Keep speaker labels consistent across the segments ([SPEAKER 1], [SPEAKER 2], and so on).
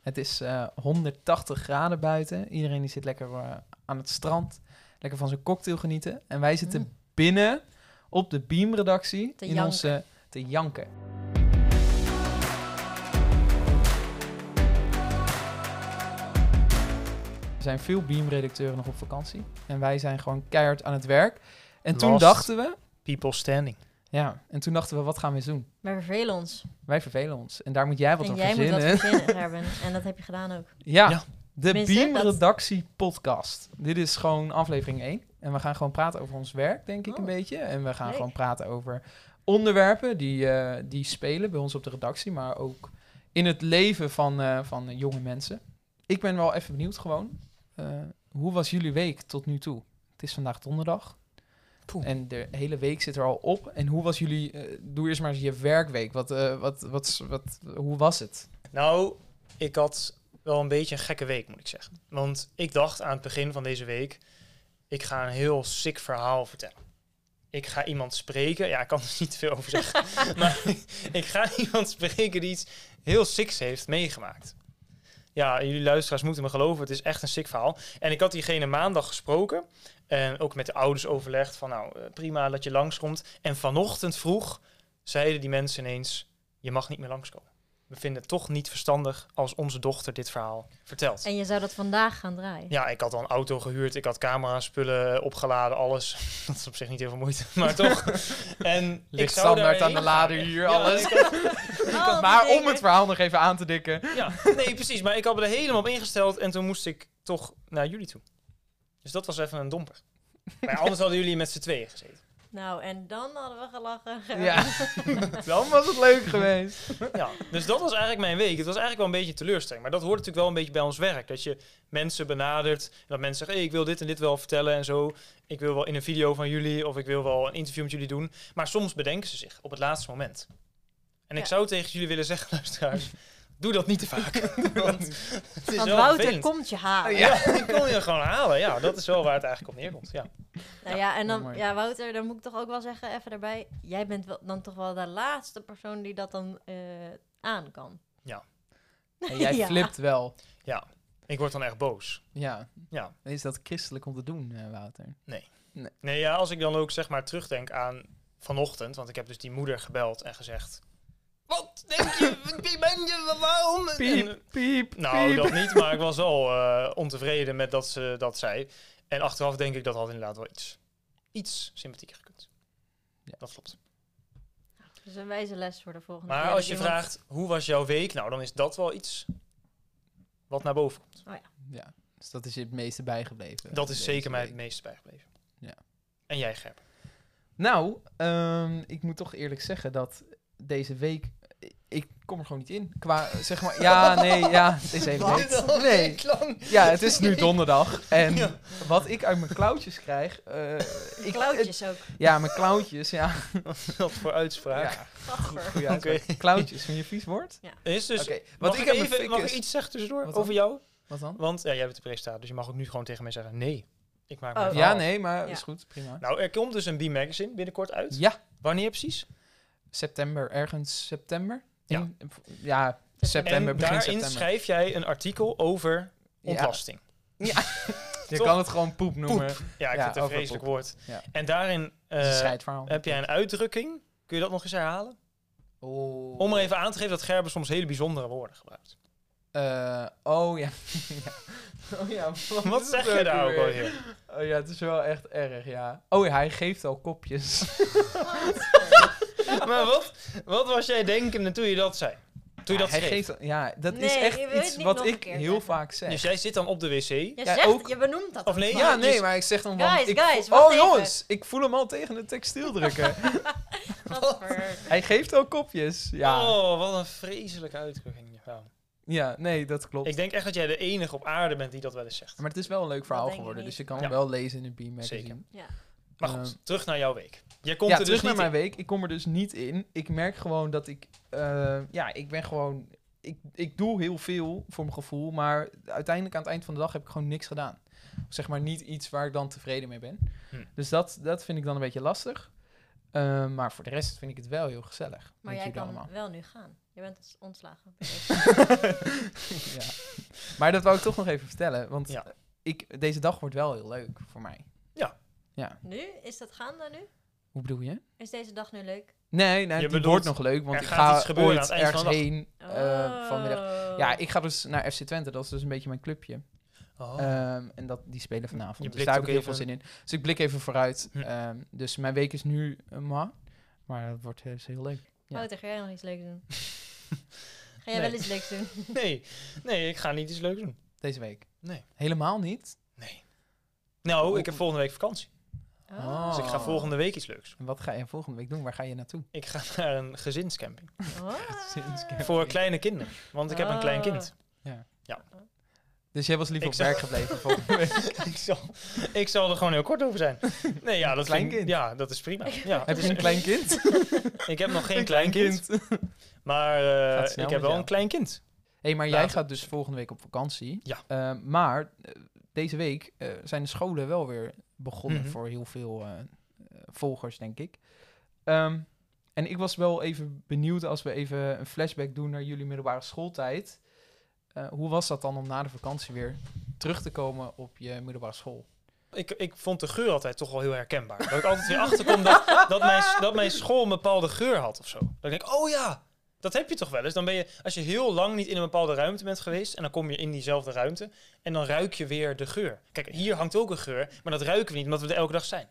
[SPEAKER 1] Het is eh, 180 graden buiten. Iedereen die zit lekker eh, aan het strand. Lekker van zijn cocktail genieten. En wij zitten
[SPEAKER 2] Mm.
[SPEAKER 1] binnen op de Beam-redactie.
[SPEAKER 2] Te
[SPEAKER 1] in
[SPEAKER 2] janken.
[SPEAKER 1] onze te janken. Er zijn veel Beam-redacteuren nog op vakantie. En wij zijn gewoon keihard aan het werk. En toen
[SPEAKER 3] Lost.
[SPEAKER 1] dachten we...
[SPEAKER 3] People standing.
[SPEAKER 1] Ja, en toen dachten we, wat gaan we eens doen?
[SPEAKER 2] Wij vervelen ons.
[SPEAKER 1] Wij vervelen ons. En daar moet jij wat
[SPEAKER 2] en
[SPEAKER 1] aan
[SPEAKER 2] jij moet
[SPEAKER 1] verzinnen.
[SPEAKER 2] wat verzinnen, Gerben. En dat heb je gedaan ook.
[SPEAKER 1] Ja,
[SPEAKER 3] Ja.
[SPEAKER 1] de
[SPEAKER 2] Tenminste,
[SPEAKER 1] Beam
[SPEAKER 2] dat-
[SPEAKER 1] Redactie Podcast. Dit is gewoon aflevering 1. En we gaan gewoon praten over ons werk, denk ik
[SPEAKER 2] Oh,
[SPEAKER 1] een beetje. En we gaan
[SPEAKER 2] leuk.
[SPEAKER 1] gewoon praten over onderwerpen die, eh, die spelen bij ons op de redactie, maar ook in het leven van, eh, van jonge mensen. Ik ben wel even benieuwd gewoon. eh, hoe was jullie week tot nu toe? Het is vandaag donderdag.
[SPEAKER 3] Poeh.
[SPEAKER 1] En de hele week zit er al op. En hoe was jullie... eh, doe eerst maar eens je werkweek. Wat, eh, wat, wat, wat, hoe was het?
[SPEAKER 3] Nou, ik had wel een beetje een gekke week, moet ik zeggen. Want ik dacht aan het begin van deze week, ik ga een heel sick verhaal vertellen. Ik ga iemand spreken. Ja, ik kan er niet veel over zeggen. maar ik ga iemand spreken die iets heel sicks heeft meegemaakt. Ja, jullie luisteraars moeten me geloven. Het is echt een sick verhaal. En ik had diegene maandag gesproken. En ook met de ouders overlegd van nou, eh, prima dat je langskomt. En vanochtend vroeg zeiden die mensen ineens, je mag niet meer langskomen. We vinden het toch niet verstandig als onze dochter dit verhaal vertelt.
[SPEAKER 2] En je zou dat vandaag gaan draaien.
[SPEAKER 3] Ja, ik had al een auto gehuurd. Ik had camera's, spullen opgeladen, alles. Dat is op zich niet heel veel moeite, maar toch. En ik
[SPEAKER 1] Ligt
[SPEAKER 3] zou
[SPEAKER 1] standaard
[SPEAKER 3] daarmee-
[SPEAKER 1] aan de lader hier,
[SPEAKER 3] Ja,
[SPEAKER 1] alles.
[SPEAKER 3] ik had-
[SPEAKER 2] Oh, wat
[SPEAKER 1] maar om
[SPEAKER 2] lekker.
[SPEAKER 1] het verhaal nog even aan te dikken.
[SPEAKER 3] ja, nee, precies. Maar ik had me er helemaal op ingesteld en toen moest ik toch naar jullie toe. Dus dat was even een domper. Maar ja, anders hadden jullie met z'n tweeën gezeten.
[SPEAKER 2] Nou, en dan hadden we gelachen. Gerben.
[SPEAKER 1] Ja, dan was het leuk geweest.
[SPEAKER 3] Ja, dus dat was eigenlijk mijn week. Het was eigenlijk wel een beetje teleurstelling. Maar dat hoort natuurlijk wel een beetje bij ons werk. Dat je mensen benadert. En dat mensen zeggen, hey, ik wil dit en dit wel vertellen en zo. Ik wil wel in een video van jullie of ik wil wel een interview met jullie doen. Maar soms bedenken ze zich op het laatste moment. En ik
[SPEAKER 2] Ja.
[SPEAKER 3] zou tegen jullie willen zeggen, luisteraars, doe dat niet te vaak. Doe dat-
[SPEAKER 1] Want-
[SPEAKER 3] het is
[SPEAKER 2] Want
[SPEAKER 3] wel
[SPEAKER 2] Wouter
[SPEAKER 3] vervelend.
[SPEAKER 2] komt je halen.
[SPEAKER 3] Ja, ik kon je gewoon halen. Ja, dat is wel waar het eigenlijk op neerkomt. Ja.
[SPEAKER 2] Nou ja, en
[SPEAKER 1] Mooi.
[SPEAKER 2] dan, ja, Wouter, dan moet ik toch ook wel zeggen, even daarbij. Jij bent wel, dan toch wel de laatste persoon die dat dan eh, aan kan.
[SPEAKER 1] En jij
[SPEAKER 2] Ja.
[SPEAKER 1] flipt wel.
[SPEAKER 3] Ik word dan echt boos.
[SPEAKER 1] Ja.
[SPEAKER 3] Ja.
[SPEAKER 1] Is dat christelijk om te doen, eh, Wouter?
[SPEAKER 3] Nee, ja, als ik dan ook zeg maar terugdenk aan vanochtend, want ik heb dus die moeder gebeld en gezegd... Wat denk je? Wie ben je? Waarom? En, eh,
[SPEAKER 1] Piep, piep,
[SPEAKER 3] nou,
[SPEAKER 1] piep.
[SPEAKER 3] dat niet, maar ik was wel eh, ontevreden met dat ze dat zei. En achteraf denk ik dat had inderdaad wel iets, iets sympathieker gekund.
[SPEAKER 1] Ja.
[SPEAKER 3] Dat klopt.
[SPEAKER 2] Dus een wijze les voor de volgende keer.
[SPEAKER 3] Maar
[SPEAKER 2] dat
[SPEAKER 3] als je
[SPEAKER 2] iemand-
[SPEAKER 3] vraagt, hoe was jouw week? Nou, dan is dat wel iets wat naar boven komt.
[SPEAKER 1] Ja, dus dat is je het meeste bijgebleven.
[SPEAKER 3] Dat is
[SPEAKER 1] deze
[SPEAKER 3] zeker mij het
[SPEAKER 1] week.
[SPEAKER 3] meest bijgebleven.
[SPEAKER 1] Ja.
[SPEAKER 3] En jij, Gerben?
[SPEAKER 1] Nou, ehm, ik moet toch eerlijk zeggen dat deze week... eh, Ik kom er gewoon niet in. Qua, eh, zeg maar... Ja, nee, ja. Het is even niet. Nee. Ja, het is nu donderdag. En
[SPEAKER 3] Ja.
[SPEAKER 1] wat ik uit mijn klauwtjes krijg... eh, ik,
[SPEAKER 2] Klauwtjes ook.
[SPEAKER 1] ja, mijn klauwtjes, ja.
[SPEAKER 3] Wat voor uitspraak.
[SPEAKER 1] ja.
[SPEAKER 2] Gadver.
[SPEAKER 1] Goeie uitspraak. Klauwtjes, vind je een vies woord?
[SPEAKER 3] Is dus,
[SPEAKER 1] Oké,
[SPEAKER 3] mag,
[SPEAKER 1] wat
[SPEAKER 3] ik
[SPEAKER 1] ik aan mijn
[SPEAKER 3] even,
[SPEAKER 1] fik
[SPEAKER 3] mag ik
[SPEAKER 1] is-
[SPEAKER 3] iets zeggen tussendoor
[SPEAKER 1] Wat dan?
[SPEAKER 3] over jou?
[SPEAKER 1] Wat dan?
[SPEAKER 3] Want ja, jij bent de presentator, dus je mag ook nu gewoon tegen mij zeggen nee. Ik maak
[SPEAKER 2] Oh.
[SPEAKER 3] mijn
[SPEAKER 1] Ja,
[SPEAKER 3] verhaal.
[SPEAKER 1] nee, maar
[SPEAKER 2] Ja.
[SPEAKER 1] is goed, prima.
[SPEAKER 3] Nou, er komt dus een B-magazine binnenkort uit.
[SPEAKER 1] Ja,
[SPEAKER 3] Wanneer precies?
[SPEAKER 1] september, ergens september.
[SPEAKER 3] Ja.
[SPEAKER 1] In- ja, september,
[SPEAKER 3] en
[SPEAKER 1] begin
[SPEAKER 3] daarin
[SPEAKER 1] september.
[SPEAKER 3] schrijf jij een artikel over
[SPEAKER 1] Ja,
[SPEAKER 3] ontlasting.
[SPEAKER 1] je
[SPEAKER 3] toch? Eh,
[SPEAKER 1] kan het gewoon poep noemen.
[SPEAKER 3] Ja, ik
[SPEAKER 1] Ja,
[SPEAKER 3] vind het een
[SPEAKER 1] over
[SPEAKER 3] vreselijk
[SPEAKER 1] poep.
[SPEAKER 3] woord.
[SPEAKER 1] Ja.
[SPEAKER 3] En daarin
[SPEAKER 1] Het is een
[SPEAKER 3] eh,
[SPEAKER 1] scheidverhaal.
[SPEAKER 3] heb jij een uitdrukking. Kun je dat nog eens herhalen?
[SPEAKER 1] Oh,
[SPEAKER 3] Om er even aan te geven dat Gerben soms hele bijzondere woorden gebruikt.
[SPEAKER 1] Eh, oh ja. Ja. oh ja.
[SPEAKER 3] Wat
[SPEAKER 1] is
[SPEAKER 3] zeg
[SPEAKER 1] het
[SPEAKER 3] je daar ook
[SPEAKER 1] weer?
[SPEAKER 3] alweer?
[SPEAKER 1] Oh ja, het is wel echt erg, ja. Oh ja, hij geeft al kopjes.
[SPEAKER 3] maar wat, wat was jij denkende toen je dat zei? Toen je dat
[SPEAKER 1] hij
[SPEAKER 3] schreef?
[SPEAKER 1] geeft al- ja, dat is
[SPEAKER 2] Nee,
[SPEAKER 1] echt
[SPEAKER 2] je wil het
[SPEAKER 1] iets
[SPEAKER 2] niet
[SPEAKER 1] wat
[SPEAKER 2] nog een
[SPEAKER 1] ik
[SPEAKER 2] keer
[SPEAKER 1] heel
[SPEAKER 2] zeggen.
[SPEAKER 1] vaak zeg.
[SPEAKER 3] Dus jij dus zit dan op de wc.
[SPEAKER 2] Je,
[SPEAKER 1] Ja,
[SPEAKER 2] zegt,
[SPEAKER 1] ook-
[SPEAKER 2] je benoemt dat.
[SPEAKER 3] Of nee,
[SPEAKER 2] maar-
[SPEAKER 1] Ja,
[SPEAKER 3] je-
[SPEAKER 1] nee, maar ik zeg dan van...
[SPEAKER 2] Guys,
[SPEAKER 1] ik
[SPEAKER 2] guys,
[SPEAKER 1] voel-
[SPEAKER 2] wacht
[SPEAKER 1] oh
[SPEAKER 2] even.
[SPEAKER 1] jongens, ik voel hem al tegen het textiel drukken.
[SPEAKER 2] Gadver.
[SPEAKER 1] Hij geeft al kopjes. Ja.
[SPEAKER 3] Oh, wat een vreselijke uitdrukking. Ja.
[SPEAKER 1] ja, nee, dat klopt.
[SPEAKER 3] Ik denk echt dat jij de enige op aarde bent die dat wel eens zegt.
[SPEAKER 1] Maar het is wel een leuk verhaal
[SPEAKER 2] denk ik
[SPEAKER 1] geworden,
[SPEAKER 2] niet.
[SPEAKER 1] dus je kan
[SPEAKER 3] Ja.
[SPEAKER 1] hem wel lezen in de Beam magazine.
[SPEAKER 3] Zeker.
[SPEAKER 2] Ja.
[SPEAKER 3] Maar goed,
[SPEAKER 1] Ehm,
[SPEAKER 3] terug naar jouw week. Jij komt
[SPEAKER 1] ja,
[SPEAKER 3] er dus
[SPEAKER 1] terug
[SPEAKER 3] niet
[SPEAKER 1] naar mijn
[SPEAKER 3] in.
[SPEAKER 1] week. Ik kom er dus niet in. Ik merk gewoon dat ik... eh, ja, ik ben gewoon... Ik, ik doe heel veel voor mijn gevoel, maar uiteindelijk aan het eind van de dag heb ik gewoon niks gedaan. Zeg maar niet iets waar ik dan tevreden mee ben.
[SPEAKER 3] Hm.
[SPEAKER 1] Dus dat, dat vind ik dan een Ehm, beetje lastig. Eh, maar voor de rest vind ik het wel heel gezellig. met
[SPEAKER 2] Maar jij
[SPEAKER 1] jullie
[SPEAKER 2] kan
[SPEAKER 1] allemaal.
[SPEAKER 2] wel nu gaan. Je Je bent ontslagen.
[SPEAKER 1] ja. Maar dat wou ik toch nog even vertellen, want
[SPEAKER 3] Ja.
[SPEAKER 1] ik, deze dag wordt wel heel leuk voor mij.
[SPEAKER 3] Ja.
[SPEAKER 1] Ja,
[SPEAKER 2] nu? Is dat gaande nu?
[SPEAKER 1] hoe bedoel je?
[SPEAKER 2] Is deze dag nu leuk?
[SPEAKER 1] Nee, nee
[SPEAKER 3] Je
[SPEAKER 1] die
[SPEAKER 3] bedoelt,
[SPEAKER 1] wordt nog leuk, want
[SPEAKER 3] er
[SPEAKER 1] ik
[SPEAKER 3] gaat
[SPEAKER 1] ga
[SPEAKER 3] iets gebeuren
[SPEAKER 1] ooit
[SPEAKER 3] aan het eind
[SPEAKER 1] ergens
[SPEAKER 3] van de dag.
[SPEAKER 1] heen eh, vanmiddag. Ja,
[SPEAKER 2] Oh.
[SPEAKER 1] ik ga dus naar FC Twente, dat is dus een beetje mijn clubje.
[SPEAKER 3] Oh.
[SPEAKER 1] Ehm, en dat, die spelen
[SPEAKER 3] Je
[SPEAKER 1] vanavond, dus
[SPEAKER 3] blikt
[SPEAKER 1] daar heb
[SPEAKER 3] ook
[SPEAKER 1] ik heel veel
[SPEAKER 3] even-
[SPEAKER 1] zin in. Dus ik blik even vooruit.
[SPEAKER 3] Hm.
[SPEAKER 1] Ehm, dus mijn week is nu eh, ma, maar dat wordt eh, heel leuk. ja.
[SPEAKER 2] Wouter, ga jij Oh, nog iets leuks doen? ga jij
[SPEAKER 3] Nee.
[SPEAKER 2] wel iets leuks doen?
[SPEAKER 3] nee. nee, ik ga niet iets leuks doen.
[SPEAKER 1] Deze week?
[SPEAKER 3] Nee.
[SPEAKER 1] Helemaal niet?
[SPEAKER 3] Nee. Nou,
[SPEAKER 1] Oh.
[SPEAKER 3] ik heb volgende week vakantie. Dus ik ga
[SPEAKER 1] Oh.
[SPEAKER 3] volgende week iets leuks.
[SPEAKER 1] En wat ga je volgende week doen? Waar ga je naartoe?
[SPEAKER 3] Ik ga naar een gezinscamping.
[SPEAKER 2] Oh.
[SPEAKER 1] Gezinskerk.
[SPEAKER 3] Voor kleine kinderen. Want ik heb een klein kind.
[SPEAKER 1] Dus jij was liever
[SPEAKER 3] Ik
[SPEAKER 1] op
[SPEAKER 3] zou-
[SPEAKER 1] werk gebleven volgende week.
[SPEAKER 3] ik, zal, ik zal er gewoon heel kort over zijn. Nee, ja, dat
[SPEAKER 1] Klein
[SPEAKER 3] vind ik-
[SPEAKER 1] kind.
[SPEAKER 3] Ja, dat is prima. Ja,
[SPEAKER 1] Heb je
[SPEAKER 3] dus
[SPEAKER 1] een klein kind?
[SPEAKER 3] Ik heb nog geen klein kind. Maar eh,
[SPEAKER 1] Gaat snel
[SPEAKER 3] ik
[SPEAKER 1] met
[SPEAKER 3] heb wel
[SPEAKER 1] jou.
[SPEAKER 3] een klein kind.
[SPEAKER 1] Hé, hey, maar jij
[SPEAKER 3] Later.
[SPEAKER 1] gaat dus volgende week op vakantie.
[SPEAKER 3] Nou, Ja.
[SPEAKER 1] Eh, maar eh, deze week eh, zijn de scholen wel weer begonnen
[SPEAKER 3] Mhm.
[SPEAKER 1] voor heel veel eh, eh, volgers, denk ik. Ehm, en ik was wel even benieuwd als we even een flashback doen naar jullie middelbare schooltijd. Eh, hoe was dat dan om na de vakantie weer terug te komen op je middelbare school?
[SPEAKER 3] Ik, ik vond de geur altijd toch wel heel herkenbaar. Dat ik altijd weer achterkom dat, dat, mijn, dat mijn school een bepaalde geur had of zo. Dat ik denk, oh ja, dat heb je toch wel eens. Dan ben je, als je heel lang niet in een bepaalde ruimte bent geweest... en dan kom je in diezelfde ruimte en dan ruik je weer de geur. Kijk, hier hangt ook een geur, maar dat ruiken we niet omdat we er elke dag zijn.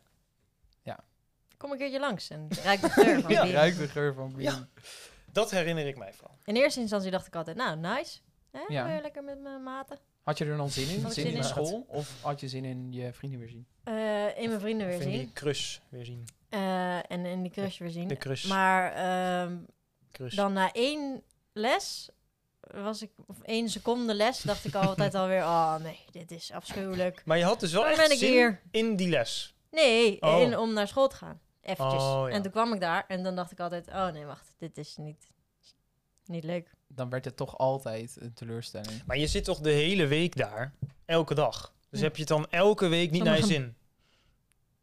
[SPEAKER 2] Kom een keertje langs en ruik de geur van
[SPEAKER 3] Ja.
[SPEAKER 2] bier.
[SPEAKER 1] Ruik de geur van bier.
[SPEAKER 3] Ja. Dat herinner ik mij vooral.
[SPEAKER 2] In eerste instantie dacht ik altijd, nou, nice. Hè,
[SPEAKER 1] Ja.
[SPEAKER 2] weer lekker met mijn maten.
[SPEAKER 1] Had je er dan zin in?
[SPEAKER 2] Had ik
[SPEAKER 1] zin
[SPEAKER 2] zin
[SPEAKER 1] in
[SPEAKER 2] in.
[SPEAKER 1] school? Of had je zin in je vrienden weer zien?
[SPEAKER 2] Eh, in mijn vrienden
[SPEAKER 3] Of
[SPEAKER 2] weer
[SPEAKER 3] in die
[SPEAKER 2] zien.
[SPEAKER 3] crush weer zien.
[SPEAKER 2] Eh, en in die crush weer zien.
[SPEAKER 3] De crush.
[SPEAKER 2] Maar ehm,
[SPEAKER 3] crush.
[SPEAKER 2] dan na één les was ik, of één seconde les, dacht ik altijd alweer, oh nee, dit is afschuwelijk.
[SPEAKER 3] Maar je had dus wel
[SPEAKER 2] Waarom ben
[SPEAKER 3] echt
[SPEAKER 2] ik
[SPEAKER 3] zin
[SPEAKER 2] hier?
[SPEAKER 3] in die les.
[SPEAKER 2] Nee,
[SPEAKER 3] Oh.
[SPEAKER 2] in, om naar school te gaan. Eventjes.
[SPEAKER 3] Oh, ja.
[SPEAKER 2] En toen kwam ik daar en dan dacht ik altijd, oh nee, wacht, dit is niet, niet leuk.
[SPEAKER 1] Dan werd het toch altijd een teleurstelling.
[SPEAKER 3] Maar je zit toch de hele week daar? Elke dag. Dus
[SPEAKER 2] Hm.
[SPEAKER 3] heb je het dan elke week niet naar je zin?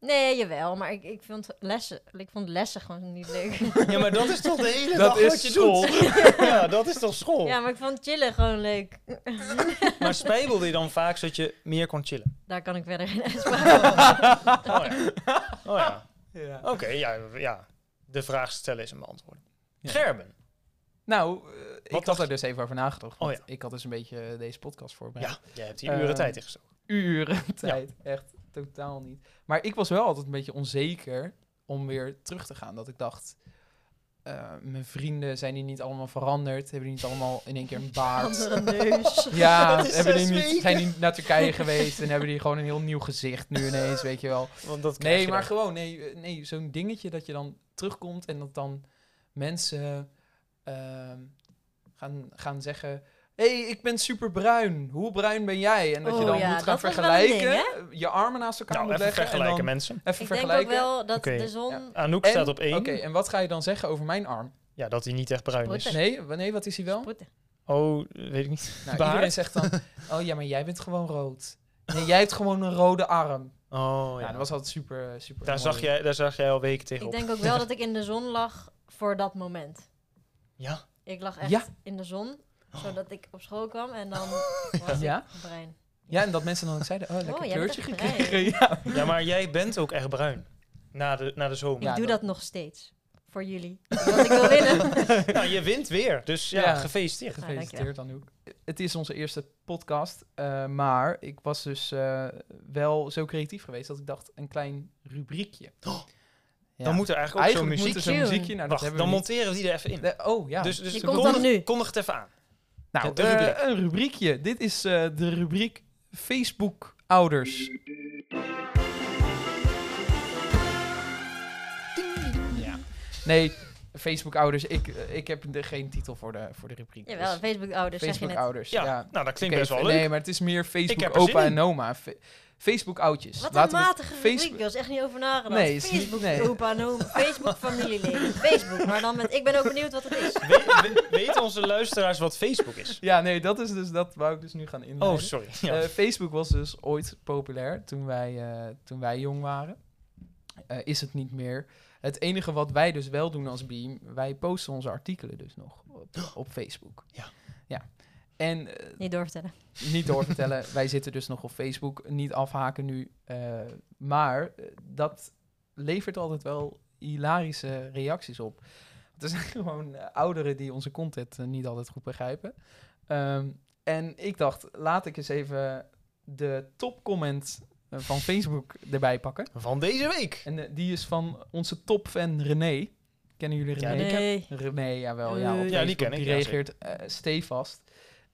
[SPEAKER 2] Nee, jawel, maar ik, ik, vond lessen, ik vond lessen gewoon niet leuk.
[SPEAKER 3] Ja, maar dat is toch de hele
[SPEAKER 1] Dat
[SPEAKER 3] dag
[SPEAKER 1] is
[SPEAKER 3] wat je
[SPEAKER 1] school.
[SPEAKER 3] doet? Ja, dat is toch school?
[SPEAKER 2] ja, maar ik vond chillen gewoon leuk.
[SPEAKER 3] Maar spijbelde je dan vaak zodat je meer kon chillen?
[SPEAKER 2] Daar kan ik verder geen uitspraak over doen.
[SPEAKER 3] Oh ja. Oh ja.
[SPEAKER 1] Ja.
[SPEAKER 3] Oké, ja, ja. De vraag stellen is een beantwoorden.
[SPEAKER 1] Ja.
[SPEAKER 3] Gerben.
[SPEAKER 1] Nou, eh, ik
[SPEAKER 3] dacht
[SPEAKER 1] had er
[SPEAKER 3] je?
[SPEAKER 1] dus even over nagedacht. Want
[SPEAKER 3] Oh
[SPEAKER 1] Ik had dus een beetje eh, deze podcast voorbereid.
[SPEAKER 3] Ja, Eh, jij hebt hier uren
[SPEAKER 1] Ehm,
[SPEAKER 3] tijd in gestoken.
[SPEAKER 1] Uren tijd, echt totaal niet. Maar ik was wel altijd een beetje onzeker om weer terug te gaan. Dat ik dacht, eh, mijn vrienden zijn hier niet allemaal veranderd. Hebben die niet allemaal in één keer een baard?
[SPEAKER 2] Andere neus.
[SPEAKER 1] Ja,
[SPEAKER 3] Dat is
[SPEAKER 1] hebben die
[SPEAKER 3] zes
[SPEAKER 1] niet,
[SPEAKER 3] weken.
[SPEAKER 1] zijn die naar Turkije geweest en hebben die gewoon een heel nieuw gezicht nu ineens, weet je wel.
[SPEAKER 3] Want dat krijg
[SPEAKER 1] Nee,
[SPEAKER 3] je
[SPEAKER 1] maar
[SPEAKER 3] dan.
[SPEAKER 1] gewoon, nee, eh, nee, zo'n dingetje dat je dan terugkomt en dat dan mensen ehm, gaan, gaan zeggen... Hé, hey, ik ben superbruin. Hoe bruin ben jij? En dat je
[SPEAKER 2] Oh
[SPEAKER 1] dan
[SPEAKER 2] ja,
[SPEAKER 1] moet gaan
[SPEAKER 2] dat was wel een
[SPEAKER 1] vergelijken.
[SPEAKER 2] ding,
[SPEAKER 1] je armen naast elkaar
[SPEAKER 3] Nou,
[SPEAKER 1] moet
[SPEAKER 3] even
[SPEAKER 1] leggen.
[SPEAKER 3] vergelijken,
[SPEAKER 1] en dan
[SPEAKER 3] mensen.
[SPEAKER 1] even
[SPEAKER 2] Ik denk ook
[SPEAKER 1] vergelijken.
[SPEAKER 2] wel Hm? dat
[SPEAKER 3] Oké.
[SPEAKER 2] de zon...
[SPEAKER 1] Ja.
[SPEAKER 3] Anouk
[SPEAKER 1] En-
[SPEAKER 3] staat op één.
[SPEAKER 1] Oké, en wat ga je dan zeggen over mijn arm?
[SPEAKER 3] Ja, dat hij niet echt bruin is.
[SPEAKER 2] Sproeten.
[SPEAKER 1] Nee, nee wat is hij wel?
[SPEAKER 2] Sproeten.
[SPEAKER 3] Oh, weet ik niet.
[SPEAKER 1] Nou,
[SPEAKER 3] Baard?
[SPEAKER 1] iedereen zegt dan, oh ja, maar jij bent gewoon rood. Nee, jij hebt gewoon een rode arm.
[SPEAKER 3] Oh,
[SPEAKER 1] ja,
[SPEAKER 3] ja.
[SPEAKER 1] dat was altijd super, super
[SPEAKER 3] daar,
[SPEAKER 1] mooi.
[SPEAKER 3] zag jij, daar zag jij al weken
[SPEAKER 2] Ik
[SPEAKER 3] tegenop.
[SPEAKER 2] denk ook wel dat ik in de zon lag voor dat moment.
[SPEAKER 3] Ja.
[SPEAKER 2] Ik lag echt
[SPEAKER 1] Ja.
[SPEAKER 2] in de zon, zodat ik op school kwam en dan was
[SPEAKER 1] Ja?
[SPEAKER 2] ik brein.
[SPEAKER 1] Ja, en dat mensen dan ook zeiden, oh, lekker
[SPEAKER 2] jij bent
[SPEAKER 1] kleurtje
[SPEAKER 2] echt bruin.
[SPEAKER 1] gekregen. Ja.
[SPEAKER 3] ja, maar jij bent ook echt bruin. Na de, na de
[SPEAKER 2] Ik
[SPEAKER 3] zomer.
[SPEAKER 1] Ja,
[SPEAKER 2] doe
[SPEAKER 1] dat-
[SPEAKER 2] dat nog steeds. Voor jullie. Want ik wil winnen.
[SPEAKER 3] Nou, je wint weer. Dus ja,
[SPEAKER 1] Ja.
[SPEAKER 3] gefeliciteerd.
[SPEAKER 2] Nou,
[SPEAKER 1] Gefeliciteerd dan ook. Het is onze eerste podcast, eh, maar ik was dus eh, wel zo creatief geweest dat ik dacht, een klein rubriekje. Ja.
[SPEAKER 3] Dan moet er eigenlijk ook zo'n
[SPEAKER 1] Eigenlijk moet
[SPEAKER 3] muziek...
[SPEAKER 1] er zo'n
[SPEAKER 2] Tune.
[SPEAKER 1] muziekje. Nou, dat
[SPEAKER 3] Wacht,
[SPEAKER 1] hebben
[SPEAKER 3] dan
[SPEAKER 1] we
[SPEAKER 3] monteren we die er even in.
[SPEAKER 1] niet. De- oh, ja.
[SPEAKER 3] Dus, dus
[SPEAKER 2] Die
[SPEAKER 3] de
[SPEAKER 2] komt dan
[SPEAKER 3] kondig,
[SPEAKER 2] nu.
[SPEAKER 3] kondig het even aan.
[SPEAKER 1] nou,
[SPEAKER 3] de
[SPEAKER 1] eh,
[SPEAKER 3] rubriek.
[SPEAKER 1] een rubriekje. Dit is eh, de rubriek Facebook Ouders. Ja. Nee, Facebook Ouders. Ik, eh, ik heb er geen titel voor de, voor de rubriek. dus-
[SPEAKER 2] Jawel, Facebook-ouders zeg je
[SPEAKER 1] Facebook
[SPEAKER 2] net.
[SPEAKER 1] Ouders.
[SPEAKER 3] Ja,
[SPEAKER 1] Ja.
[SPEAKER 3] nou dat klinkt
[SPEAKER 1] Oké,
[SPEAKER 3] best wel
[SPEAKER 1] fe-
[SPEAKER 3] leuk.
[SPEAKER 1] Nee, maar het is meer
[SPEAKER 3] Ik heb
[SPEAKER 1] Facebook
[SPEAKER 3] er zin
[SPEAKER 1] opa
[SPEAKER 3] in.
[SPEAKER 1] en oma. Fe- Facebook oudjes.
[SPEAKER 2] Wat een
[SPEAKER 1] Laten we het
[SPEAKER 2] matige rubriek. Ik was echt niet over nagedacht.
[SPEAKER 1] Nee, is niet-
[SPEAKER 2] Facebook,
[SPEAKER 1] nee.
[SPEAKER 2] opa en oma, Facebook, familieleden. Facebook, maar dan met... Ik ben ook benieuwd wat het is.
[SPEAKER 3] We- we- weten onze luisteraars wat Facebook is?
[SPEAKER 1] Ja, nee, dat is dus dat wou ik dus nu gaan inleiden.
[SPEAKER 3] Oh, sorry. Ja.
[SPEAKER 1] Eh, Facebook was dus ooit populair toen wij, eh, toen wij jong waren. Eh, is het niet meer. Het enige wat wij dus wel doen als Beam, wij posten onze artikelen dus nog op, op Facebook.
[SPEAKER 3] Ja.
[SPEAKER 1] ja. En eh,
[SPEAKER 2] Niet doorvertellen.
[SPEAKER 1] niet doorvertellen, wij zitten dus nog op Facebook, niet afhaken nu. eh, maar eh, dat levert altijd wel hilarische reacties op. Er zijn gewoon eh, ouderen die onze content eh, niet altijd goed begrijpen. Ehm, en ik dacht, laat ik eens even de topcomment eh, van Facebook erbij pakken.
[SPEAKER 3] Van deze week.
[SPEAKER 1] En eh, die is van onze topfan René. Kennen jullie
[SPEAKER 3] Ja,
[SPEAKER 1] René?
[SPEAKER 3] die
[SPEAKER 2] Nee.
[SPEAKER 3] ken-
[SPEAKER 1] René, jawel. Ja, op
[SPEAKER 2] Eh,
[SPEAKER 1] Facebook,
[SPEAKER 3] Ja, die ken ik,
[SPEAKER 1] Die
[SPEAKER 3] ja,
[SPEAKER 1] reageert eh, stevast.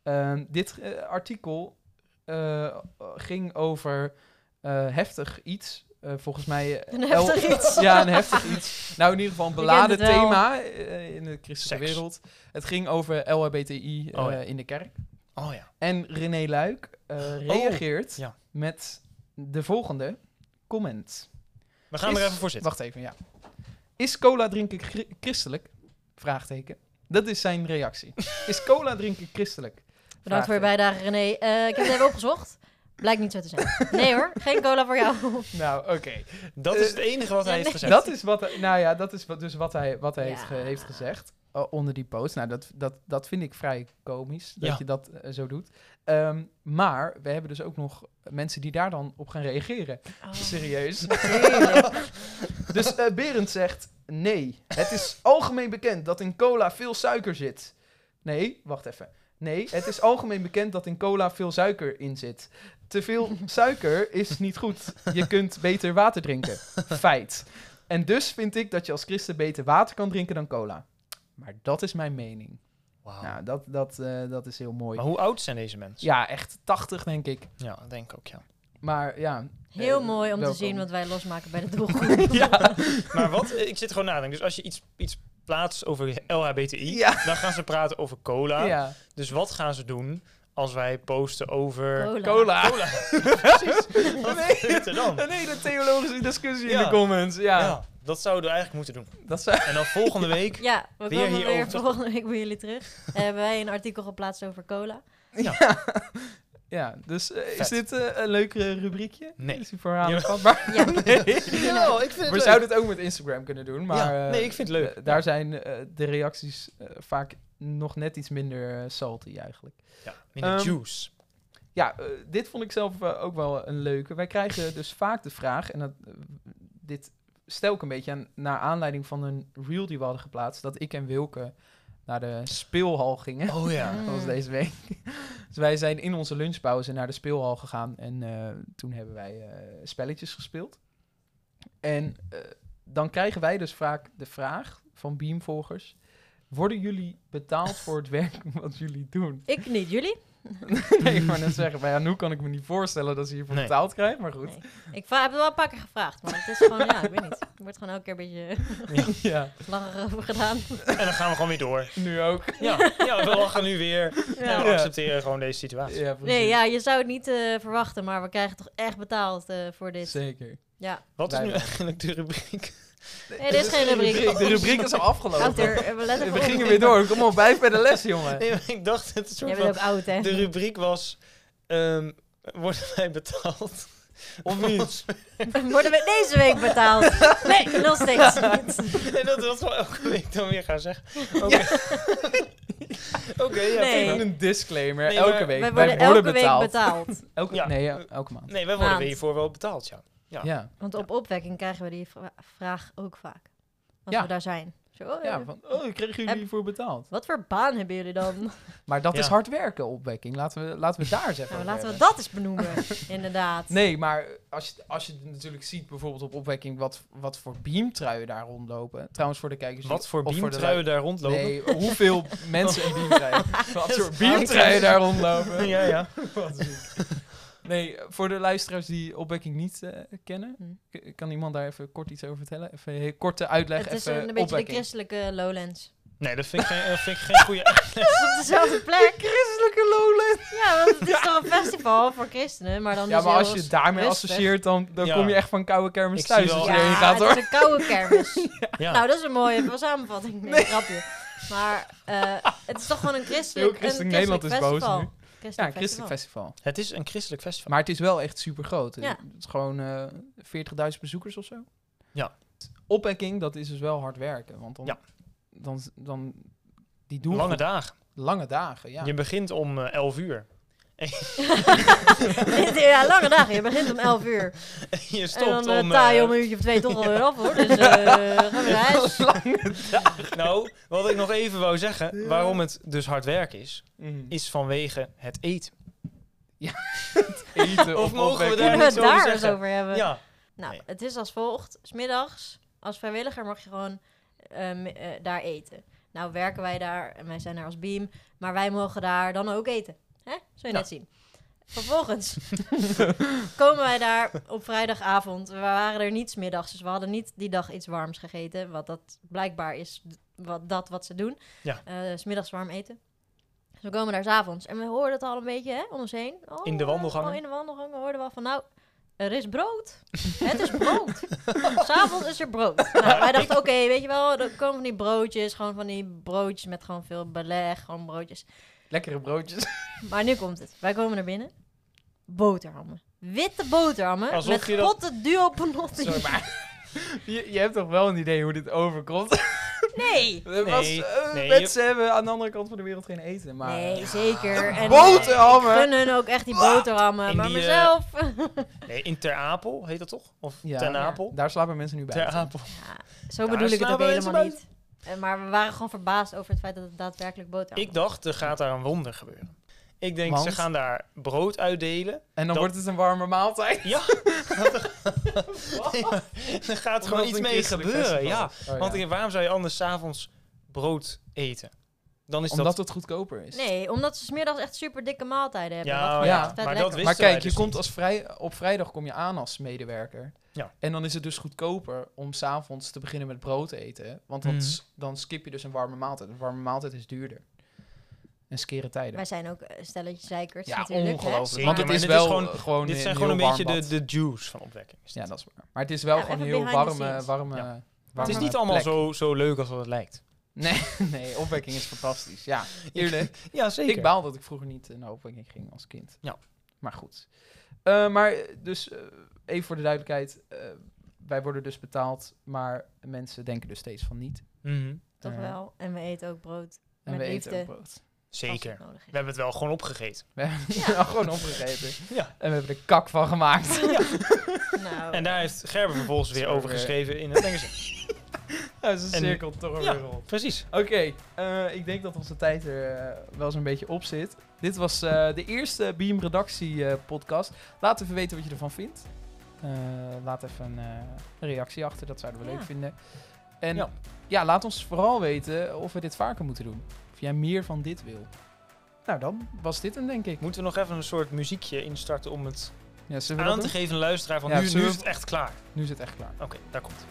[SPEAKER 1] Ehm, dit eh, artikel eh, ging over eh, heftig iets. Eh, volgens mij... eh,
[SPEAKER 2] Een heftig
[SPEAKER 1] el-
[SPEAKER 2] iets.
[SPEAKER 1] Ja, een heftig iets. Nou, in ieder geval een beladen
[SPEAKER 2] het wel.
[SPEAKER 1] thema eh, in de christelijke
[SPEAKER 3] Seks.
[SPEAKER 1] wereld. Het ging over LHBTI eh,
[SPEAKER 3] Oh, ja.
[SPEAKER 1] in de kerk.
[SPEAKER 3] Oh ja.
[SPEAKER 1] En René Luik eh, reageert
[SPEAKER 3] ja.
[SPEAKER 1] met de volgende comment.
[SPEAKER 3] We gaan er
[SPEAKER 1] Is-
[SPEAKER 3] even voor zitten.
[SPEAKER 1] Wacht even, ja. Is cola drinken chri- christelijk? Vraagteken. Dat is zijn reactie. Is cola drinken christelijk?
[SPEAKER 2] Bedankt voor je bijdrage, René. Eh, ik heb het even opgezocht. Blijkt niet zo te zijn. Nee hoor, geen cola voor jou.
[SPEAKER 1] Nou, oké.
[SPEAKER 3] Dat is het enige wat hij
[SPEAKER 2] ja,
[SPEAKER 3] heeft
[SPEAKER 2] nee.
[SPEAKER 3] gezegd.
[SPEAKER 1] Eh, Dat is wat, hij- nou ja, dat is wat, dus wat hij, wat hij heeft, ge-
[SPEAKER 2] Ja.
[SPEAKER 1] heeft gezegd eh, onder die post. Nou, dat, dat, dat vind ik vrij komisch, dat
[SPEAKER 3] Ja.
[SPEAKER 1] je dat eh, zo doet. Ehm, maar we hebben dus ook nog mensen die daar dan op gaan reageren.
[SPEAKER 2] Oh,
[SPEAKER 1] Serieus.
[SPEAKER 2] heerlijk.
[SPEAKER 1] Dus eh, Berend zegt: Nee, het is algemeen bekend dat in cola veel suiker zit. Nee, wacht even. Nee, het is algemeen bekend dat in cola veel suiker in zit. Te veel suiker is niet goed. Je kunt beter water drinken. Feit. En dus vind ik dat je als christen beter water kan drinken dan cola. Maar dat is mijn mening.
[SPEAKER 3] Wauw.
[SPEAKER 1] Nou, dat, dat, eh, dat is heel mooi.
[SPEAKER 3] Maar hoe oud zijn deze mensen?
[SPEAKER 1] Ja, echt 80 denk ik.
[SPEAKER 3] Ja, dat denk ik ook, ja.
[SPEAKER 1] Maar ja.
[SPEAKER 2] Heel
[SPEAKER 1] eh,
[SPEAKER 2] mooi om
[SPEAKER 1] welkom.
[SPEAKER 2] te zien wat wij losmaken bij de doelgroep.
[SPEAKER 1] Ja,
[SPEAKER 3] Maar wat, ik zit gewoon na te denken. Dus als je iets, iets plaatst over LHBTI,
[SPEAKER 1] Ja.
[SPEAKER 3] dan gaan ze praten over cola.
[SPEAKER 1] ja.
[SPEAKER 3] Dus wat gaan ze doen als wij posten over...
[SPEAKER 2] Cola.
[SPEAKER 1] Cola.
[SPEAKER 3] Cola. Precies. Wat
[SPEAKER 1] Nee.
[SPEAKER 3] gebeurt er dan?
[SPEAKER 1] Een hele theologische discussie in
[SPEAKER 3] Ja.
[SPEAKER 1] de comments. Ja,
[SPEAKER 3] Ja. dat zouden we eigenlijk moeten doen.
[SPEAKER 1] dat zijn.
[SPEAKER 3] En dan volgende week...
[SPEAKER 2] Ja, we
[SPEAKER 3] Weer
[SPEAKER 2] komen
[SPEAKER 3] hierover
[SPEAKER 2] weer
[SPEAKER 3] terug.
[SPEAKER 2] volgende week bij jullie terug. Eh, hebben wij een artikel geplaatst over cola.
[SPEAKER 1] Ja. ja, dus eh, is
[SPEAKER 3] Vet.
[SPEAKER 1] dit eh, een leuk eh, rubriekje?
[SPEAKER 3] Nee.
[SPEAKER 1] Is die voor haar
[SPEAKER 3] Ja.
[SPEAKER 1] vatbaar?
[SPEAKER 2] Ja.
[SPEAKER 3] Jawel, ik vind
[SPEAKER 1] We zouden het ook met Instagram kunnen doen, maar...
[SPEAKER 3] Ja,
[SPEAKER 1] eh,
[SPEAKER 3] nee, ik vind het leuk.
[SPEAKER 1] eh, daar
[SPEAKER 3] Ja.
[SPEAKER 1] zijn eh, de reacties eh, vaak nog net iets minder eh, salty eigenlijk.
[SPEAKER 3] Ja, minder
[SPEAKER 1] Ehm,
[SPEAKER 3] juice.
[SPEAKER 1] Ja, eh, dit vond ik zelf eh, ook wel een leuke. Wij krijgen dus vaak de vraag, en dat, eh, dit stel ik een beetje aan, naar aanleiding van een reel die we hadden geplaatst, dat ik en Wilke naar de speelhal gingen.
[SPEAKER 3] Oh ja.
[SPEAKER 2] Mm.
[SPEAKER 1] Dat was deze week. dus wij zijn in onze lunchpauze naar de speelhal gegaan en eh, toen hebben wij eh, spelletjes gespeeld. En eh, dan krijgen wij dus vaak de vraag van Beamvolgers: worden jullie betaald voor het werk wat jullie doen?
[SPEAKER 2] Ik niet, jullie?
[SPEAKER 1] nee, ik wou net zeggen, bij Anouk kan ik me niet voorstellen dat ze hiervoor
[SPEAKER 3] Nee.
[SPEAKER 1] betaald krijgt, maar goed.
[SPEAKER 2] Nee. Ik va- heb het wel een paar keer gevraagd, maar het is gewoon, ja, ik weet niet. Er wordt gewoon elke keer een beetje
[SPEAKER 1] ja,
[SPEAKER 2] langer over gedaan.
[SPEAKER 3] En dan gaan we gewoon weer door.
[SPEAKER 1] nu ook.
[SPEAKER 3] Ja, ja we lachen nu weer. En we
[SPEAKER 1] Ja.
[SPEAKER 3] accepteren gewoon deze situatie.
[SPEAKER 1] Ja, precies.
[SPEAKER 2] Nee, ja, je zou het niet eh, verwachten, maar we krijgen toch echt betaald eh, voor dit.
[SPEAKER 1] Zeker.
[SPEAKER 2] Ja,
[SPEAKER 3] Wat is
[SPEAKER 1] Wij
[SPEAKER 3] nu
[SPEAKER 1] wel.
[SPEAKER 3] eigenlijk de rubriek?
[SPEAKER 2] Nee, dit is geen rubriek.
[SPEAKER 1] De rubriek is al
[SPEAKER 2] Oud
[SPEAKER 1] afgelopen.
[SPEAKER 2] er, eh, we letten
[SPEAKER 1] We
[SPEAKER 2] voor
[SPEAKER 1] gingen
[SPEAKER 2] op.
[SPEAKER 1] weer door. Kom op, blijf bij de les, jongen.
[SPEAKER 3] Nee, maar ik dacht het
[SPEAKER 2] Jij
[SPEAKER 3] soort
[SPEAKER 2] bent
[SPEAKER 3] van...
[SPEAKER 2] ook oud, hè?
[SPEAKER 3] De rubriek was... ehm, worden wij betaald?
[SPEAKER 1] Of niet?
[SPEAKER 2] Worden we deze week betaald? Nee, nog steeds niet.
[SPEAKER 3] en dat was wel elke week dan weer gaan zeggen. Oké, Oké, ja,
[SPEAKER 2] Nee.
[SPEAKER 3] prima.
[SPEAKER 1] Even een disclaimer.
[SPEAKER 3] Nee, maar
[SPEAKER 1] elke week.
[SPEAKER 2] Wij worden elke week
[SPEAKER 1] betaald.
[SPEAKER 2] betaald.
[SPEAKER 1] Elke,
[SPEAKER 3] Ja.
[SPEAKER 1] Nee, ja, elke maand.
[SPEAKER 3] Nee, wij worden
[SPEAKER 2] Maand.
[SPEAKER 3] weer hiervoor wel betaald, ja.
[SPEAKER 1] Ja.
[SPEAKER 3] Ja.
[SPEAKER 1] Ja,
[SPEAKER 2] Want op opwekking krijgen we die vra- vraag ook vaak. Als
[SPEAKER 1] Ja.
[SPEAKER 2] we daar zijn. Zo, oh, eh,
[SPEAKER 1] van, oh, ik kreeg jullie
[SPEAKER 2] Heb-
[SPEAKER 1] hiervoor betaald.
[SPEAKER 2] Wat voor baan hebben jullie dan? Nou,
[SPEAKER 1] Maar dat
[SPEAKER 3] Ja.
[SPEAKER 1] is hard werken, opwekking. Laten we, laten we daar eens even
[SPEAKER 2] Nou,
[SPEAKER 1] over
[SPEAKER 2] laten we
[SPEAKER 1] hebben.
[SPEAKER 2] dat eens benoemen, inderdaad.
[SPEAKER 1] Nee, maar als je, als je natuurlijk ziet bijvoorbeeld op opwekking wat, wat voor beamtruien daar rondlopen. Trouwens voor de kijkers. die-
[SPEAKER 3] Wat voor
[SPEAKER 1] of de
[SPEAKER 3] beamtruien daar
[SPEAKER 1] lu-
[SPEAKER 3] rondlopen.
[SPEAKER 1] Nee, hoeveel mensen een beamtrui. Wat voor
[SPEAKER 3] is-
[SPEAKER 1] beamtruien daar rondlopen.
[SPEAKER 3] Ja, ja.
[SPEAKER 1] Wat ziek. Nee, voor de luisteraars die opwekking niet eh, kennen,
[SPEAKER 2] Hm.
[SPEAKER 1] k- kan iemand daar even kort iets over vertellen? Even een heel korte uitleg.
[SPEAKER 2] het is
[SPEAKER 1] even
[SPEAKER 2] een, beetje de
[SPEAKER 1] opwekking.
[SPEAKER 2] christelijke lowlands.
[SPEAKER 3] Nee, dat vind ik
[SPEAKER 1] eh,
[SPEAKER 3] geen, dat vind ik geen goede...
[SPEAKER 2] Het is op dezelfde plek.
[SPEAKER 1] christelijke lowland.
[SPEAKER 2] Ja, want het is toch een festival voor christenen, maar dan
[SPEAKER 1] Ja,
[SPEAKER 2] dus
[SPEAKER 1] maar
[SPEAKER 2] heel
[SPEAKER 1] als je het daarmee
[SPEAKER 2] rustig.
[SPEAKER 1] associeert, dan, dan
[SPEAKER 3] Ja.
[SPEAKER 1] kom je echt van koude kermis
[SPEAKER 3] Ik
[SPEAKER 1] thuis
[SPEAKER 3] zie
[SPEAKER 1] als
[SPEAKER 3] wel-
[SPEAKER 1] je heen gaat,
[SPEAKER 2] het
[SPEAKER 1] hoor.
[SPEAKER 2] is een koude kermis.
[SPEAKER 3] Ja.
[SPEAKER 2] Nou, dat is een mooie samenvatting. Nee, grapje. Maar eh, het is toch gewoon een christelijk,
[SPEAKER 1] Heel christelijk
[SPEAKER 2] een
[SPEAKER 1] Nederland is boos
[SPEAKER 2] festival.
[SPEAKER 1] nu. Ja, een
[SPEAKER 2] Christelijk
[SPEAKER 1] christelijk
[SPEAKER 2] festival.
[SPEAKER 1] festival.
[SPEAKER 3] Het is een christelijk festival.
[SPEAKER 1] Maar het is wel echt super groot.
[SPEAKER 2] Ja.
[SPEAKER 1] Het is gewoon eh 40.000 bezoekers of zo.
[SPEAKER 3] Ja.
[SPEAKER 1] opwekking, dat is dus wel hard werken. Want dan,
[SPEAKER 3] Ja.
[SPEAKER 1] dan, dan die doel
[SPEAKER 3] Lange dagen.
[SPEAKER 1] lange dagen, ja.
[SPEAKER 3] Je begint om eh, 11 uur.
[SPEAKER 2] ja, lange dagen. Je begint om 11 uur.
[SPEAKER 3] je stopt
[SPEAKER 2] en dan eh,
[SPEAKER 3] om...
[SPEAKER 2] taai je
[SPEAKER 3] eh,
[SPEAKER 2] om een uurtje of twee toch alweer af hoor. Dus eh gaan we naar huis.
[SPEAKER 3] Nou, wat ik nog even wou zeggen, waarom het dus hard werk is,
[SPEAKER 1] Mm.
[SPEAKER 3] is vanwege het eten.
[SPEAKER 1] Eten
[SPEAKER 3] Of mogen we
[SPEAKER 1] opwekking.
[SPEAKER 2] Kunnen we het
[SPEAKER 3] niet over
[SPEAKER 2] daar eens
[SPEAKER 3] zeggen.
[SPEAKER 2] over hebben?
[SPEAKER 3] Ja,
[SPEAKER 2] Nou,
[SPEAKER 3] Nee.
[SPEAKER 2] het is als volgt. Smiddags, als vrijwilliger mag je gewoon ehm, eh, daar eten. Nou werken wij daar en wij zijn daar als beam. Maar wij mogen daar dan ook eten. Hè? Zul je
[SPEAKER 3] Ja.
[SPEAKER 2] net zien. Vervolgens komen wij daar op vrijdagavond. We waren er niet smiddags, dus we hadden niet die dag iets warms gegeten. Wat dat blijkbaar is, d- wat, dat wat ze doen.
[SPEAKER 3] Ja.
[SPEAKER 2] Eh, smiddags warm eten. Dus we komen daar s'avonds. En we hoorden het al een beetje hè, om ons heen. Oh,
[SPEAKER 3] In de
[SPEAKER 2] eh,
[SPEAKER 3] wandelgangen.
[SPEAKER 2] oh, in de wandelgangen hoorden we al van, nou, er is brood. Het is brood. S'avonds is er brood. Nou, wij dachten, oké, weet je wel, er komen van die broodjes. Gewoon van die broodjes met gewoon veel beleg. Gewoon broodjes.
[SPEAKER 1] Lekkere broodjes.
[SPEAKER 2] Maar nu komt het. Wij komen naar binnen. Boterhammen. Witte boterhammen
[SPEAKER 3] Alsof
[SPEAKER 2] met
[SPEAKER 3] je dat-
[SPEAKER 2] potten duo panotti.
[SPEAKER 1] Sorry, maar je, je hebt toch wel een idee hoe dit overkomt?
[SPEAKER 2] Nee.
[SPEAKER 1] Er was, eh,
[SPEAKER 3] nee,
[SPEAKER 1] mensen hebben aan de andere kant van de wereld geen eten, maar...
[SPEAKER 2] nee, zeker. En
[SPEAKER 1] boterhammen.
[SPEAKER 2] Ik gun hun ook echt die boterhammen.
[SPEAKER 3] Ah, In
[SPEAKER 2] maar
[SPEAKER 3] die, eh,
[SPEAKER 2] mezelf...
[SPEAKER 3] nee, in Ter Apel heet dat toch? Of
[SPEAKER 1] Ja.
[SPEAKER 3] Ten Apel?
[SPEAKER 1] Daar slapen mensen nu bij.
[SPEAKER 3] Ter Apel.
[SPEAKER 2] Ja, zo
[SPEAKER 3] Daar
[SPEAKER 2] bedoel ik het
[SPEAKER 3] slaan
[SPEAKER 2] ook
[SPEAKER 3] we mensen
[SPEAKER 2] helemaal niet. Eh, Maar we waren gewoon verbaasd over het feit dat het daadwerkelijk boterhammen
[SPEAKER 3] Ik dacht, er gaat daar een wonder gebeuren. Ik denk, ze
[SPEAKER 1] Want?
[SPEAKER 3] gaan daar brood uitdelen.
[SPEAKER 1] En dan
[SPEAKER 3] Dat-
[SPEAKER 1] wordt het een warme maaltijd.
[SPEAKER 3] Ja, er gaat gewoon
[SPEAKER 1] Omdat
[SPEAKER 3] iets
[SPEAKER 1] het een
[SPEAKER 3] mee
[SPEAKER 1] christelijk
[SPEAKER 3] gebeuren.
[SPEAKER 1] festival
[SPEAKER 3] Ja.
[SPEAKER 1] is. Oh,
[SPEAKER 3] Want
[SPEAKER 1] ja.
[SPEAKER 3] ik- waarom zou je anders s'avonds brood eten? Dan is
[SPEAKER 1] Omdat
[SPEAKER 3] dat...
[SPEAKER 1] het goedkoper is.
[SPEAKER 2] Nee, omdat ze smiddags echt super dikke maaltijden hebben.
[SPEAKER 3] Ja,
[SPEAKER 2] wat gewoon
[SPEAKER 1] ja,
[SPEAKER 2] echt vet
[SPEAKER 3] maar
[SPEAKER 2] lekker
[SPEAKER 3] dat
[SPEAKER 2] is.
[SPEAKER 1] Maar
[SPEAKER 3] Wisten wij
[SPEAKER 1] kijk, je
[SPEAKER 3] dus
[SPEAKER 1] komt
[SPEAKER 3] niet.
[SPEAKER 1] als vrij, op vrijdag kom je aan als medewerker.
[SPEAKER 3] Ja.
[SPEAKER 1] En dan is het dus goedkoper om s'avonds te beginnen met brood eten. Want dan,
[SPEAKER 3] Mhm.
[SPEAKER 1] s- dan skip je dus een warme maaltijd. Een warme maaltijd is duurder. En skere tijden.
[SPEAKER 2] Wij zijn ook een stelletje zeikers
[SPEAKER 1] ja,
[SPEAKER 2] natuurlijk. hè.
[SPEAKER 1] ongelooflijk.
[SPEAKER 3] Zeker,
[SPEAKER 1] Want het
[SPEAKER 3] maar
[SPEAKER 1] is
[SPEAKER 3] dit is
[SPEAKER 1] wel
[SPEAKER 3] gewoon-
[SPEAKER 1] gewoon, gewoon
[SPEAKER 3] Dit
[SPEAKER 1] een
[SPEAKER 3] zijn
[SPEAKER 1] heel
[SPEAKER 3] gewoon een beetje
[SPEAKER 1] warm
[SPEAKER 3] de,
[SPEAKER 1] bad.
[SPEAKER 3] de juice van opwekking. is dit.
[SPEAKER 1] Ja, dat is waar. Maar het is wel
[SPEAKER 2] Ja,
[SPEAKER 1] gewoon een
[SPEAKER 2] even
[SPEAKER 1] heel
[SPEAKER 2] behind the
[SPEAKER 1] warme,
[SPEAKER 2] scenes.
[SPEAKER 1] warme,
[SPEAKER 3] Ja.
[SPEAKER 1] warme
[SPEAKER 3] Het is niet allemaal
[SPEAKER 1] plek.
[SPEAKER 3] zo, zo leuk als wat het lijkt.
[SPEAKER 1] Nee, opwekking is fantastisch. Ja, eerlijk.
[SPEAKER 3] Ja, zeker.
[SPEAKER 1] Ik baal dat ik vroeger niet eh, naar opwekking ging als kind.
[SPEAKER 3] Ja.
[SPEAKER 1] Maar goed. Eh, maar eh, dus, eh, even voor de duidelijkheid. eh, wij worden dus betaald, maar mensen denken dus steeds van niet.
[SPEAKER 3] Mhm.
[SPEAKER 2] Toch
[SPEAKER 1] Eh,
[SPEAKER 2] wel. En we eten ook brood.
[SPEAKER 1] En
[SPEAKER 2] Met
[SPEAKER 1] we
[SPEAKER 2] liefde.
[SPEAKER 1] eten ook brood.
[SPEAKER 2] Als
[SPEAKER 3] Zeker.
[SPEAKER 2] het nodig
[SPEAKER 3] We hebben het wel gewoon opgegeten.
[SPEAKER 1] We hebben het gewoon opgegeten.
[SPEAKER 3] Ja.
[SPEAKER 1] En we hebben er kak van gemaakt.
[SPEAKER 2] is. Nou,
[SPEAKER 3] En daar heeft Gerber vervolgens weer
[SPEAKER 1] Sorry.
[SPEAKER 3] over geschreven in het Engels.
[SPEAKER 1] Dat is een
[SPEAKER 3] En-
[SPEAKER 1] cirkel toch
[SPEAKER 3] ja.
[SPEAKER 1] weer op.
[SPEAKER 3] Precies.
[SPEAKER 1] Oké, eh, ik denk dat onze tijd er eh, wel zo'n beetje op zit. Dit was eh, de eerste Beam Redactie eh, podcast. Laat even weten wat je ervan vindt. Eh, laat even een eh, een reactie achter, dat zouden we
[SPEAKER 2] Ja.
[SPEAKER 1] leuk vinden. En ja.
[SPEAKER 3] Ja.
[SPEAKER 1] laat ons vooral weten of we dit vaker moeten doen. Of jij meer van dit wil. Nou, dan was dit hem, denk ik.
[SPEAKER 3] Moeten we nog even een soort muziekje instarten om het
[SPEAKER 1] Ja, zullen we
[SPEAKER 3] aan
[SPEAKER 1] dat
[SPEAKER 3] te
[SPEAKER 1] doen?
[SPEAKER 3] geven aan de luisteraar van
[SPEAKER 1] Ja,
[SPEAKER 3] nu, nu
[SPEAKER 1] zullen
[SPEAKER 3] is
[SPEAKER 1] we-
[SPEAKER 3] het echt klaar.
[SPEAKER 1] Nu is het echt klaar.
[SPEAKER 3] Oké, daar komt.